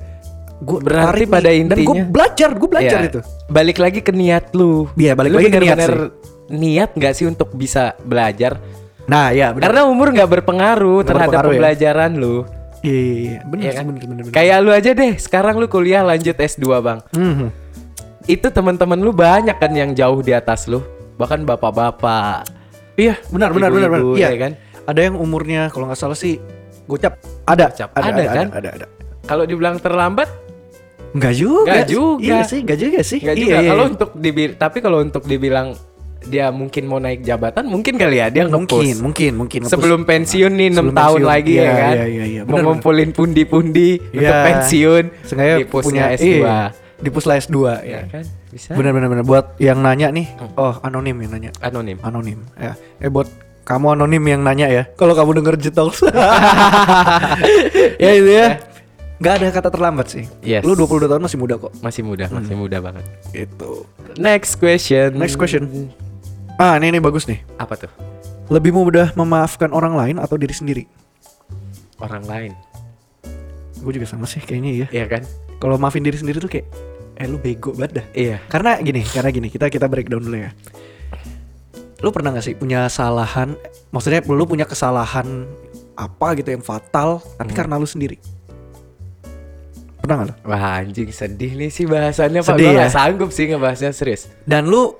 S2: gue
S1: Berarti pada
S2: dan gue
S1: intinya-
S2: belajar gue belajar
S1: Iya.
S2: itu
S1: Balik lagi ke niat lu.
S2: Iya, balik
S1: Lu
S2: lagi ke niat
S1: bener-bener niat nggak sih untuk bisa belajar?
S2: nah ya
S1: Karena umur nggak berpengaruh
S2: Nggak
S1: terhadap
S2: berpengaruh ya.
S1: pembelajaran lu.
S2: iya iya, iya. bener
S1: Iya
S2: sih,
S1: kan?
S2: bener bener bener
S1: Kayak lu aja deh, sekarang lu kuliah lanjut S2, Bang.
S2: Mhm.
S1: Itu teman-teman lu banyak kan yang jauh di atas lu, bahkan bapak-bapak.
S2: iya benar benar benar benar
S1: Ibu-ibu,
S2: iya
S1: ya kan?
S2: kan ada yang umurnya kalau nggak salah sih gocap ada
S1: Gocap. Ada, kan?
S2: ada ada, ada.
S1: Kalau dibilang terlambat,
S2: Nggak juga
S1: Nggak
S2: sih.
S1: juga.
S2: Iya sih Nggak juga sih
S1: Nggak
S2: Iya,
S1: juga.
S2: iya,
S1: Kalau
S2: iya.
S1: untuk dibil tapi kalau untuk dibilang dia mungkin mau naik jabatan, mungkin kali ya dia
S2: Mungkin
S1: nge-push.
S2: Mungkin Mungkin nge-push.
S1: Sebelum pensiun nih 6
S2: Sebelum
S1: tahun
S2: pensiun.
S1: lagi
S2: Iya,
S1: ya kan.
S2: Iya iya iya
S1: mau
S2: Benar, benar.
S1: ngumpulin pundi-pundi untuk
S2: Iya.
S1: pensiun.
S2: Sengaja
S1: dipusnya S2.
S2: iya, Di puslah S2
S1: Ya
S2: ya.
S1: kan? Bisa.
S2: Benar benar benar buat yang nanya nih.
S1: Hmm.
S2: Oh, anonim yang nanya.
S1: Anonim.
S2: Anonim. Ya. Eh buat kamu anonim yang nanya ya. Kalau kamu denger jetols. ya itu ya. Gak ada kata terlambat sih.
S1: Yes.
S2: Lu 22 tahun masih muda kok.
S1: Masih muda, masih muda banget.
S2: Itu.
S1: Next question.
S2: Hmm. Next question. Ah, ini ini bagus nih.
S1: Apa tuh?
S2: Lebih mudah memaafkan orang lain atau diri sendiri?
S1: Orang lain.
S2: Gue juga sama sih kayaknya ya.
S1: Iya kan?
S2: Kalau maafin diri sendiri tuh kayak eh lu bego banget dah.
S1: Iya.
S2: Karena gini, karena gini kita kita breakdown dulu ya. Lu pernah gak sih punya kesalahan? Maksudnya lu punya kesalahan apa gitu yang fatal, tapi karena lu sendiri. Pernah gak lu?
S1: Wah anjing sedih nih sih bahasannya Pak.
S2: Sedih
S1: Gue
S2: ya?
S1: nggak sanggup sih ngebahasnya serius.
S2: Dan lu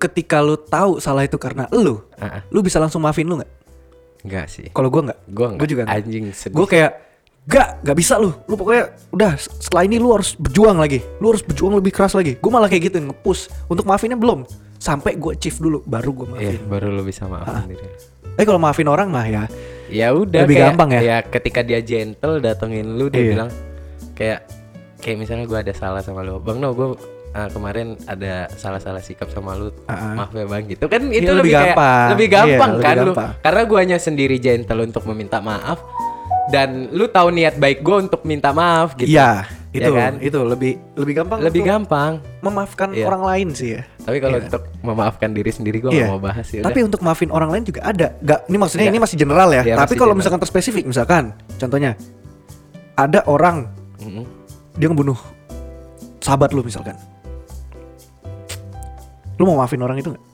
S2: ketika lu tahu salah itu karena lu,
S1: Ah, ah.
S2: lu bisa langsung maafin lu nggak?
S1: Enggak sih.
S2: Kalau gua nggak,
S1: Gue
S2: Gua juga nggak.
S1: anjing sedih.
S2: gue kayak gak gak bisa lu lu pokoknya udah setelah ini lu harus berjuang lagi lu harus berjuang lebih keras lagi gue malah kayak gitu ngepush untuk maafinnya belum sampai gue achieve dulu baru gue
S1: Iya,
S2: maafin
S1: baru lo bisa maafin diri.
S2: eh kalau maafin orang mah ya
S1: Ya udah
S2: Lebih
S1: kayak-
S2: gampang ya?
S1: ketika dia gentle datengin lu dia
S2: Iya.
S1: bilang kayak kayak misalnya gue ada salah sama lu. Bang no gue kemarin ada salah-salah sikap sama lu.
S2: Ah, ah.
S1: Maaf ya Bang gitu. Kan itu
S2: Iya,
S1: lebih,
S2: lebih
S1: kayak-
S2: gampang.
S1: lebih gampang
S2: Iya, lebih
S1: kan lu.
S2: gampang.
S1: Karena guanya sendiri gentle untuk meminta maaf dan lu tahu niat baik gue untuk minta maaf gitu.
S2: iya itu
S1: Ya kan?
S2: itu lebih lebih gampang
S1: Lebih
S2: untuk
S1: gampang.
S2: memaafkan
S1: Iya.
S2: orang lain sih ya
S1: Tapi kalau
S2: Iya.
S1: untuk memaafkan diri sendiri gue
S2: Iya.
S1: mau bahas ya.
S2: Tapi untuk maafin orang lain juga ada. Gak, ini maksudnya
S1: Iya.
S2: ini masih general ya.
S1: Iya, masih
S2: Tapi kalau
S1: general.
S2: misalkan terspesifik misalkan, contohnya ada orang dia ngebunuh sahabat lu misalkan. Lu mau maafin orang itu nggak?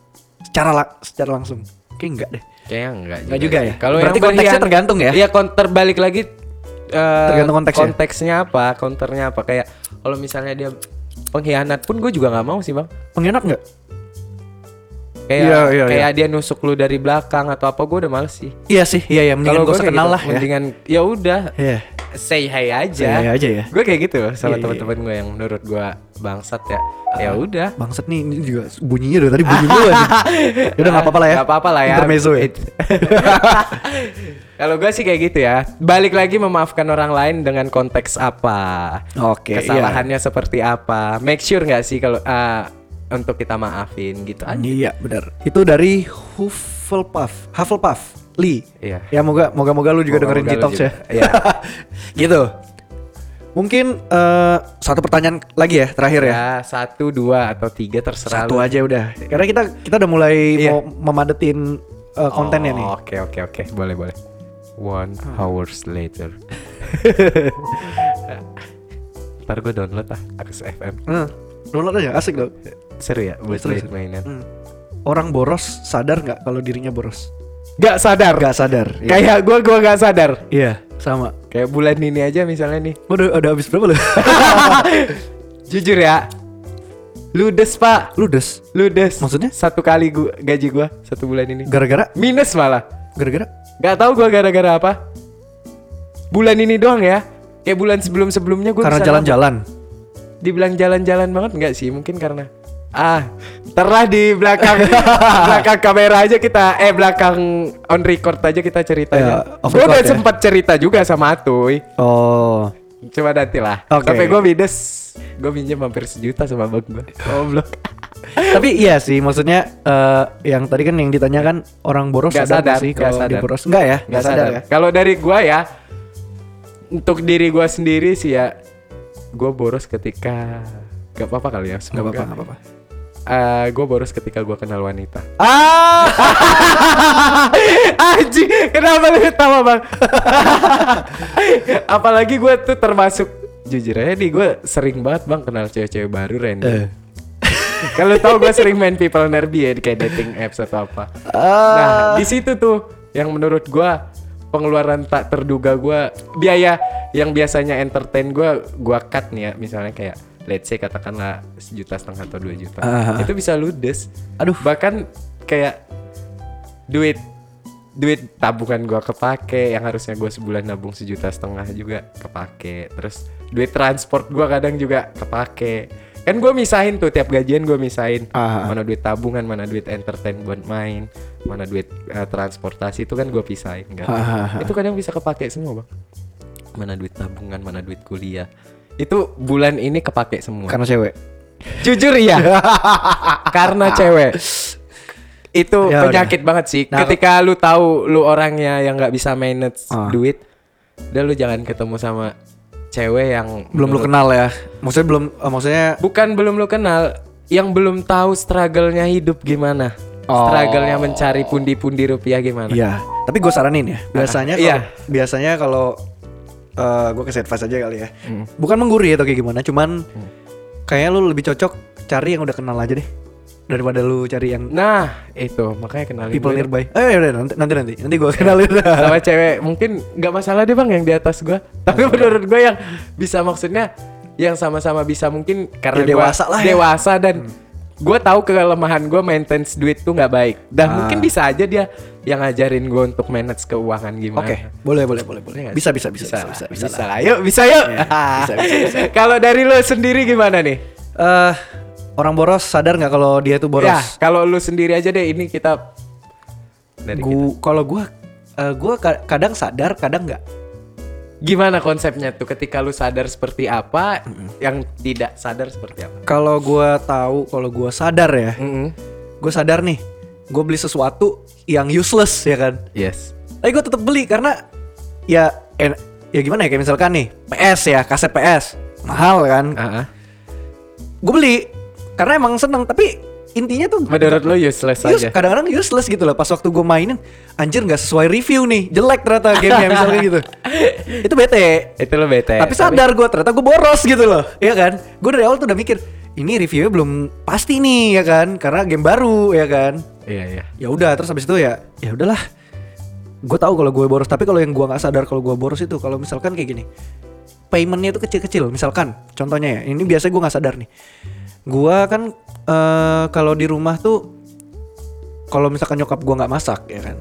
S2: Secara lang- secara langsung. Kayak enggak deh.
S1: Kayaknya enggak juga.
S2: Enggak juga ya?
S1: Kalau
S2: Berarti
S1: yang
S2: konteksnya
S1: berlian-
S2: tergantung ya?
S1: Iya, konter balik lagi eh,
S2: Tergantung konteksnya.
S1: Konteksnya apa? Konternya apa? Kayak kalau misalnya dia pengkhianat pun gue juga nggak mau sih, Bang.
S2: Pengkhianat enggak?
S1: Kayak
S2: Iya, iya,
S1: kayak dia nusuk lu dari belakang atau apa gue udah males sih.
S2: Iya sih, iya ya mendingan
S1: Kalau
S2: gak
S1: gue
S2: usah
S1: kayak
S2: kenal
S1: gitu,
S2: lah ya.
S1: Mendingan ya udah
S2: Iya.
S1: say hi aja.
S2: Say hi aja ya.
S1: Gue kayak gitu loh sama
S2: Iya, Ah. iya.
S1: teman-teman gue yang menurut gue bangsat ya. Ya udah.
S2: Bangsat nih ini juga bunyinya dari tadi bunyi dulu aja. Ya udah enggak apa-apa lah ya.
S1: Gak apa-apa lah ya.
S2: Intermezzo ya.
S1: It- Kalau gue sih kayak gitu ya. Balik lagi memaafkan orang lain dengan konteks apa.
S2: Oke, iya.
S1: Kesalahannya seperti apa. Make sure nggak sih kalau eh, untuk kita maafin gitu aja.
S2: Iya benar. Itu dari Hufflepuff, Hufflepuff, Lee.
S1: Iya.
S2: Ya moga moga moga lu juga
S1: Moga-moga
S2: dengerin
S1: lu
S2: G-Talks
S1: juga. Iya.
S2: ya. gitu. Mungkin eh, satu pertanyaan lagi ya terakhir ya.
S1: Ya satu, dua atau tiga terserah.
S2: Satu
S1: lu.
S2: aja udah. Karena kita kita udah mulai
S1: Iya.
S2: mau memadetin eh, kontennya
S1: Oh,
S2: nih. Hmm.
S1: Oke oke oke boleh boleh. One hours later. Ntar gue download ah Arus FM
S2: Hmm. Download aja asik loh.
S1: Seru ya buat
S2: Seru,
S1: main
S2: seru.
S1: mainan
S2: Hmm. Orang boros sadar nggak kalau dirinya boros?
S1: Gak sadar
S2: Gak sadar. Iya.
S1: Kayak gue gue gak sadar
S2: Iya, sama.
S1: Kayak bulan ini aja misalnya nih
S2: Waduh, udah habis berapa lu?
S1: Jujur ya Ludes pak
S2: Ludes.
S1: Ludes
S2: Maksudnya?
S1: Satu kali gua, gaji gua Satu bulan ini
S2: Gara-gara
S1: Minus malah
S2: gara-gara
S1: Gak tahu gua gara-gara apa Bulan ini doang ya Kayak bulan sebelum-sebelumnya gua
S2: karena
S1: bisa
S2: jalan-jalan.
S1: nabung. Dibilang jalan-jalan banget Enggak sih mungkin karena Ah Terah di belakang Belakang kamera aja kita Eh belakang on record aja kita ceritanya
S2: Ya, off
S1: Gua
S2: record
S1: udah
S2: ya.
S1: sempat cerita juga sama Atuy
S2: Oh.
S1: Coba nanti lah.
S2: Oke.
S1: Sampai gue minus. Gue minjem hampir sejuta sama bang gue. Goblok.
S2: Tapi iya sih, maksudnya eh, yang tadi kan yang ditanyakan orang boros
S1: Gak sadar,
S2: sadar, nggak sih
S1: gak
S2: kalau dia
S1: sadar.
S2: boros? Enggak ya,
S1: Nggak
S2: enggak sadar, ya.
S1: Kalau dari gue ya, untuk diri gue sendiri sih ya, gue boros ketika gak apa-apa kali ya.
S2: Enggak
S1: Semoga.
S2: apa-apa, enggak apa-apa.
S1: gue boros ketika gue kenal wanita.
S2: Ah,
S1: Aji, kenapa lu ketawa bang? Apalagi gue tuh termasuk jujur aja nih gue sering banget bang kenal cewek-cewek baru random.
S2: Eh.
S1: Kalau tau gue sering main people nerbi ya di kayak dating apps atau apa.
S2: Ah.
S1: Nah di situ tuh yang menurut gue pengeluaran tak terduga gue biaya yang biasanya entertain gue gue cut nih ya misalnya kayak let's say katakanlah sejuta setengah atau dua juta
S2: Ah.
S1: itu bisa ludes.
S2: Aduh.
S1: bahkan kayak duit duit tabungan gua kepake yang harusnya gua sebulan nabung sejuta setengah juga kepake terus duit transport gua kadang juga kepake kan gua misahin tuh tiap gajian gua misahin
S2: Ah.
S1: mana duit tabungan mana duit entertain buat main mana duit eh, transportasi itu kan gua pisahin kan
S2: Ah.
S1: itu kadang bisa kepake semua bang mana duit tabungan mana duit kuliah itu bulan ini kepake semua
S2: karena cewek.
S1: Jujur iya. Karena cewek. Itu
S2: Ya udah.
S1: penyakit banget sih.
S2: Nah,
S1: Ketika lu tahu lu orangnya yang nggak bisa manage
S2: Ah.
S1: duit, udah lu jangan ketemu sama cewek yang
S2: Belum lu
S1: menurut-
S2: kenal ya. Maksudnya belum eh, maksudnya
S1: Bukan belum lu kenal, yang belum tahu struggle-nya hidup gimana.
S2: Oh.
S1: Struggle-nya mencari pundi-pundi rupiah gimana.
S2: iya. Tapi gue saranin ya, biasanya
S1: Nah, Iya.
S2: kalau biasanya kalau eh gue ke advice aja kali ya.
S1: Mm.
S2: Bukan menggurui atau kayak gimana, cuman kayaknya lu lebih cocok cari yang udah kenal aja deh daripada lu cari yang
S1: Nah, Iya. itu makanya kenalin
S2: people
S1: gue.
S2: nearby. Eh yaudah, nanti nanti nanti nanti gue kenalin.
S1: sama cewek mungkin nggak masalah deh bang yang di atas gua tapi menurut gua yang bisa maksudnya yang sama-sama bisa mungkin karena
S2: Ya,
S1: gua
S2: dewasa lah ya.
S1: dewasa dan gua tahu kelemahan gua maintenance duit tuh nggak baik dan
S2: Ah.
S1: mungkin bisa aja dia yang ngajarin gua untuk manage keuangan gimana
S2: Oke, boleh boleh boleh boleh.
S1: Nah. nggak sih?
S2: Bisa bisa bisa bisa
S1: lah,
S2: bisa.
S1: bisa, lah. yuk bisa yuk
S2: Iya, bisa, bisa, bisa.
S1: kalau dari lo sendiri gimana nih
S2: Eh, orang boros sadar nggak kalau dia tuh boros?
S1: ya kalau lu sendiri aja deh ini kita dari kita.
S2: Gu- kalau gua eh, gua ka- kadang sadar, kadang nggak.
S1: gimana konsepnya tuh ketika lu sadar seperti apa yang tidak sadar seperti apa
S2: Kalau gua tahu, kalau gua sadar ya, gua sadar nih, gua beli sesuatu yang useless ya kan.
S1: Yes.
S2: Tapi gua tetap beli karena ya en- ya gimana ya kayak misalkan nih PS ya kaset PS mahal kan.
S1: Ah.
S2: Gue beli karena emang seneng tapi intinya tuh
S1: Menurut lo useless
S2: Use-
S1: aja.
S2: kadang-kadang useless gitu loh pas waktu gue mainin anjir nggak sesuai review nih jelek ternyata gamenya misalnya gitu itu bete
S1: Itu lo bete.
S2: tapi sadar gue ternyata gue boros gitu loh ya kan gue dari awal tuh udah mikir ini reviewnya belum pasti nih ya kan karena game baru ya kan
S1: Iya iya.
S2: ya udah terus habis itu ya ya udahlah gue tahu kalau gue boros tapi kalau yang gue nggak sadar kalau gue boros itu kalau misalkan kayak gini paymentnya itu kecil-kecil misalkan contohnya ya ini biasanya gue nggak sadar nih gue kan eh, kalau di rumah tuh kalau misalkan nyokap gue nggak masak ya kan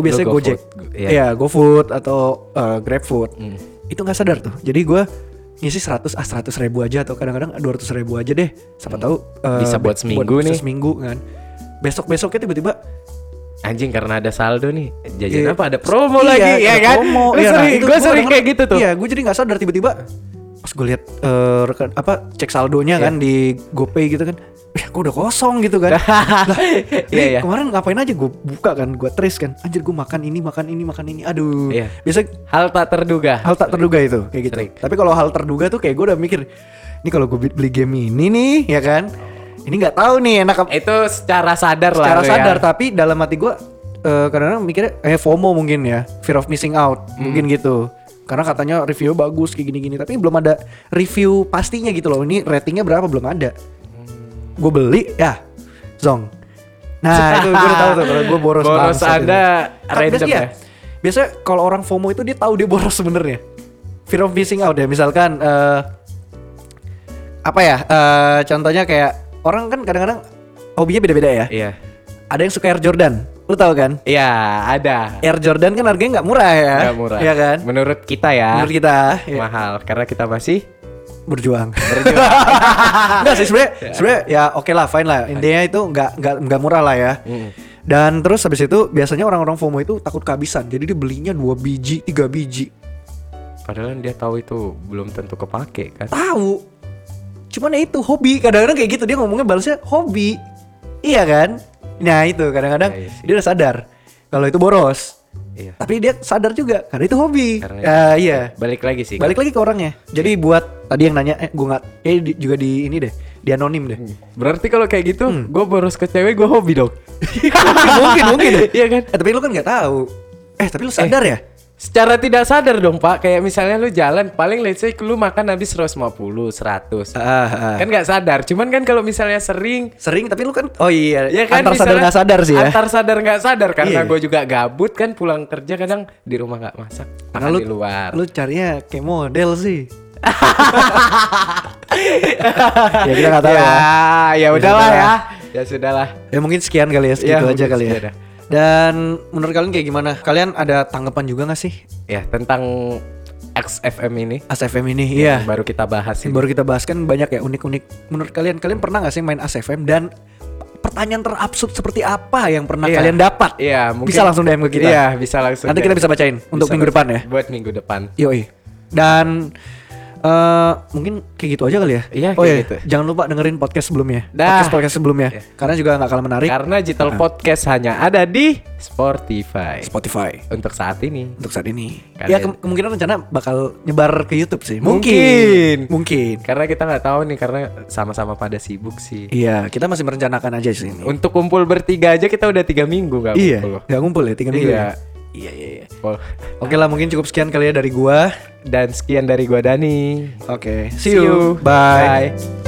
S1: Lu
S2: biasanya
S1: GoFood,
S2: gojek
S1: Go- iya.
S2: ya GoFood atau eh, GrabFood
S1: Hmm.
S2: itu nggak sadar tuh jadi gue ngisi 100 ah 100 ribu aja atau kadang-kadang 200 ribu aja deh siapa tahu eh,
S1: Hmm. Bisa buat
S2: be-
S1: seminggu
S2: bisa
S1: nih.
S2: seminggu kan besok besoknya tiba-tiba
S1: Anjing karena ada saldo nih. Jajan
S2: Iya.
S1: Ya, apa ada promo
S2: Iya,
S1: lagi ya
S2: ada
S1: kan?
S2: promo.
S1: Lu
S2: Iya, nah,
S1: sering,
S2: itu
S1: gue
S2: gua
S1: sering
S2: kadang-kadang-
S1: kayak gitu tuh.
S2: Iya, gue jadi nggak sadar tiba-tiba pas gue lihat eh, rekan- apa cek saldonya
S1: Iya.
S2: kan di GoPay gitu kan. Ya, gue udah kosong gitu kan. lah,
S1: Iya,
S2: ini
S1: iya.
S2: kemarin ngapain aja gue buka kan, gue trace kan. Anjir gue makan ini, makan ini, makan ini. Aduh.
S1: Iya.
S2: Biasa
S1: Hal tak terduga.
S2: hal tak terduga itu kayak gitu.
S1: Sering.
S2: Tapi kalau hal terduga tuh kayak gue udah mikir, ini kalau gue beli game ini nih, ya kan. Ini nggak tahu nih enak apa
S1: Itu secara sadar lah. lu
S2: secara
S1: ya.
S2: sadar tapi dalam hati gue kadang-kadang mikirnya eh FOMO mungkin ya fear of missing out
S1: Hmm.
S2: mungkin gitu karena katanya review bagus kayak gini-gini tapi belum ada review pastinya gitu loh ini ratingnya berapa belum ada gue beli ya zong nah itu gue tahu tuh kalau gue boros
S1: Boros
S2: bangsat
S1: Anda
S2: itu. Kan
S1: random
S2: biasanya-
S1: ya?
S2: biasanya kalau orang FOMO itu dia tahu dia boros sebenarnya fear of missing out ya misalkan eh apa ya eh, contohnya kayak orang kan kadang-kadang hobinya beda-beda ya
S1: Iya.
S2: ada yang suka Air Jordan lu tahu kan
S1: Iya, ada.
S2: Air Jordan kan harganya nggak murah ya
S1: Nggak murah.
S2: ya kan
S1: Menurut kita ya.
S2: menurut kita ya,
S1: Mahal karena kita masih
S2: berjuang nggak sih sebenarnya sebenarnya ya oke lah fine lah intinya itu nggak nggak nggak murah lah ya
S1: Mm.
S2: dan terus habis itu biasanya orang-orang FOMO itu takut kehabisan jadi dia belinya dua biji tiga biji
S1: Padahal dia tahu itu belum tentu kepake kan.
S2: tahu cuman ya itu hobi kadang-kadang kayak gitu dia ngomongnya balasnya hobi iya kan nah itu kadang-kadang
S1: Ya, iya sih.
S2: dia udah sadar kalau itu boros
S1: Iya.
S2: tapi dia sadar juga karena itu hobi
S1: Karena Iya.
S2: Ah, iya
S1: Balik lagi sih.
S2: balik lagi ke orangnya jadi buat tadi yang nanya eh gue nggak eh di- juga di ini deh di anonim deh Hmm.
S1: Berarti kalau kayak gitu, gue boros ke cewek, gue hobi dong.
S2: mungkin mungkin deh
S1: Iya kan?
S2: eh, tapi lu kan nggak tahu eh tapi lu sadar ya
S1: Secara tidak sadar dong pak, kayak misalnya lu jalan, paling let's say lu makan habis 150, 100.
S2: Ah, ah.
S1: Kan nggak sadar, cuman kan kalau misalnya sering,
S2: sering tapi lu kan oh iya
S1: ya kan
S2: antar sadar
S1: misalnya-
S2: nggak sadar sih ya
S1: Antar sadar nggak sadar, karena
S2: Iya.
S1: gue juga gabut kan pulang kerja kadang di rumah nggak masak,
S2: karena
S1: makan
S2: lu
S1: di luar.
S2: lu carinya kayak model sih ya kita nggak tahu
S1: ya,
S2: ya
S1: ya udahlah ya.
S2: sudahlah.
S1: Ya sudahlah.
S2: Ya mungkin sekian kali
S1: Ya,
S2: ya, segitu aja
S1: mungkin
S2: kali
S1: sekian
S2: ya.
S1: dah.
S2: Dan menurut kalian kayak gimana? Kalian ada tanggapan juga gak sih
S1: Ya tentang XFM ini
S2: ASFM ini? Iya.
S1: yang baru kita bahas
S2: Yang
S1: ini.
S2: baru kita bahas kan banyak ya unik-unik. Menurut kalian, kalian pernah gak sih main ASFM dan pertanyaan terabsurd seperti apa yang pernah
S1: Iya.
S2: Nah, kalian dapat?
S1: Iya, mungkin
S2: Bisa langsung DM ke kita.
S1: Iya, bisa langsung.
S2: Nanti kita bisa bacain untuk minggu depan ya.
S1: Buat minggu depan.
S2: Yoi. Dan eh mungkin kayak gitu aja kali ya.
S1: Iya,
S2: Oh
S1: kayak
S2: iya.
S1: gitu.
S2: Jangan lupa dengerin podcast sebelumnya.
S1: Dah.
S2: Podcast podcast sebelumnya. Karena juga nggak kalah menarik.
S1: Karena Digital
S2: Nah.
S1: Podcast hanya ada di Spotify.
S2: Spotify.
S1: Untuk saat ini.
S2: untuk saat ini.
S1: Kalian-
S2: Ya ke- kemungkinan rencana bakal nyebar ke YouTube sih.
S1: Mungkin.
S2: Mungkin. Mungkin.
S1: Karena kita nggak tahu nih karena sama-sama pada sibuk sih.
S2: Iya, kita masih merencanakan aja sih ini.
S1: Untuk kumpul bertiga aja kita udah tiga minggu nggak
S2: iya.
S1: kumpul.
S2: Gak ngumpul ya tiga minggu.
S1: Iya.
S2: Ya? Iya iya iya.
S1: Pol.
S2: Oke lah mungkin cukup sekian kali ya dari gua.
S1: Dan sekian dari gua Dani.
S2: Oke,
S1: See you.
S2: Bye.
S1: Bye.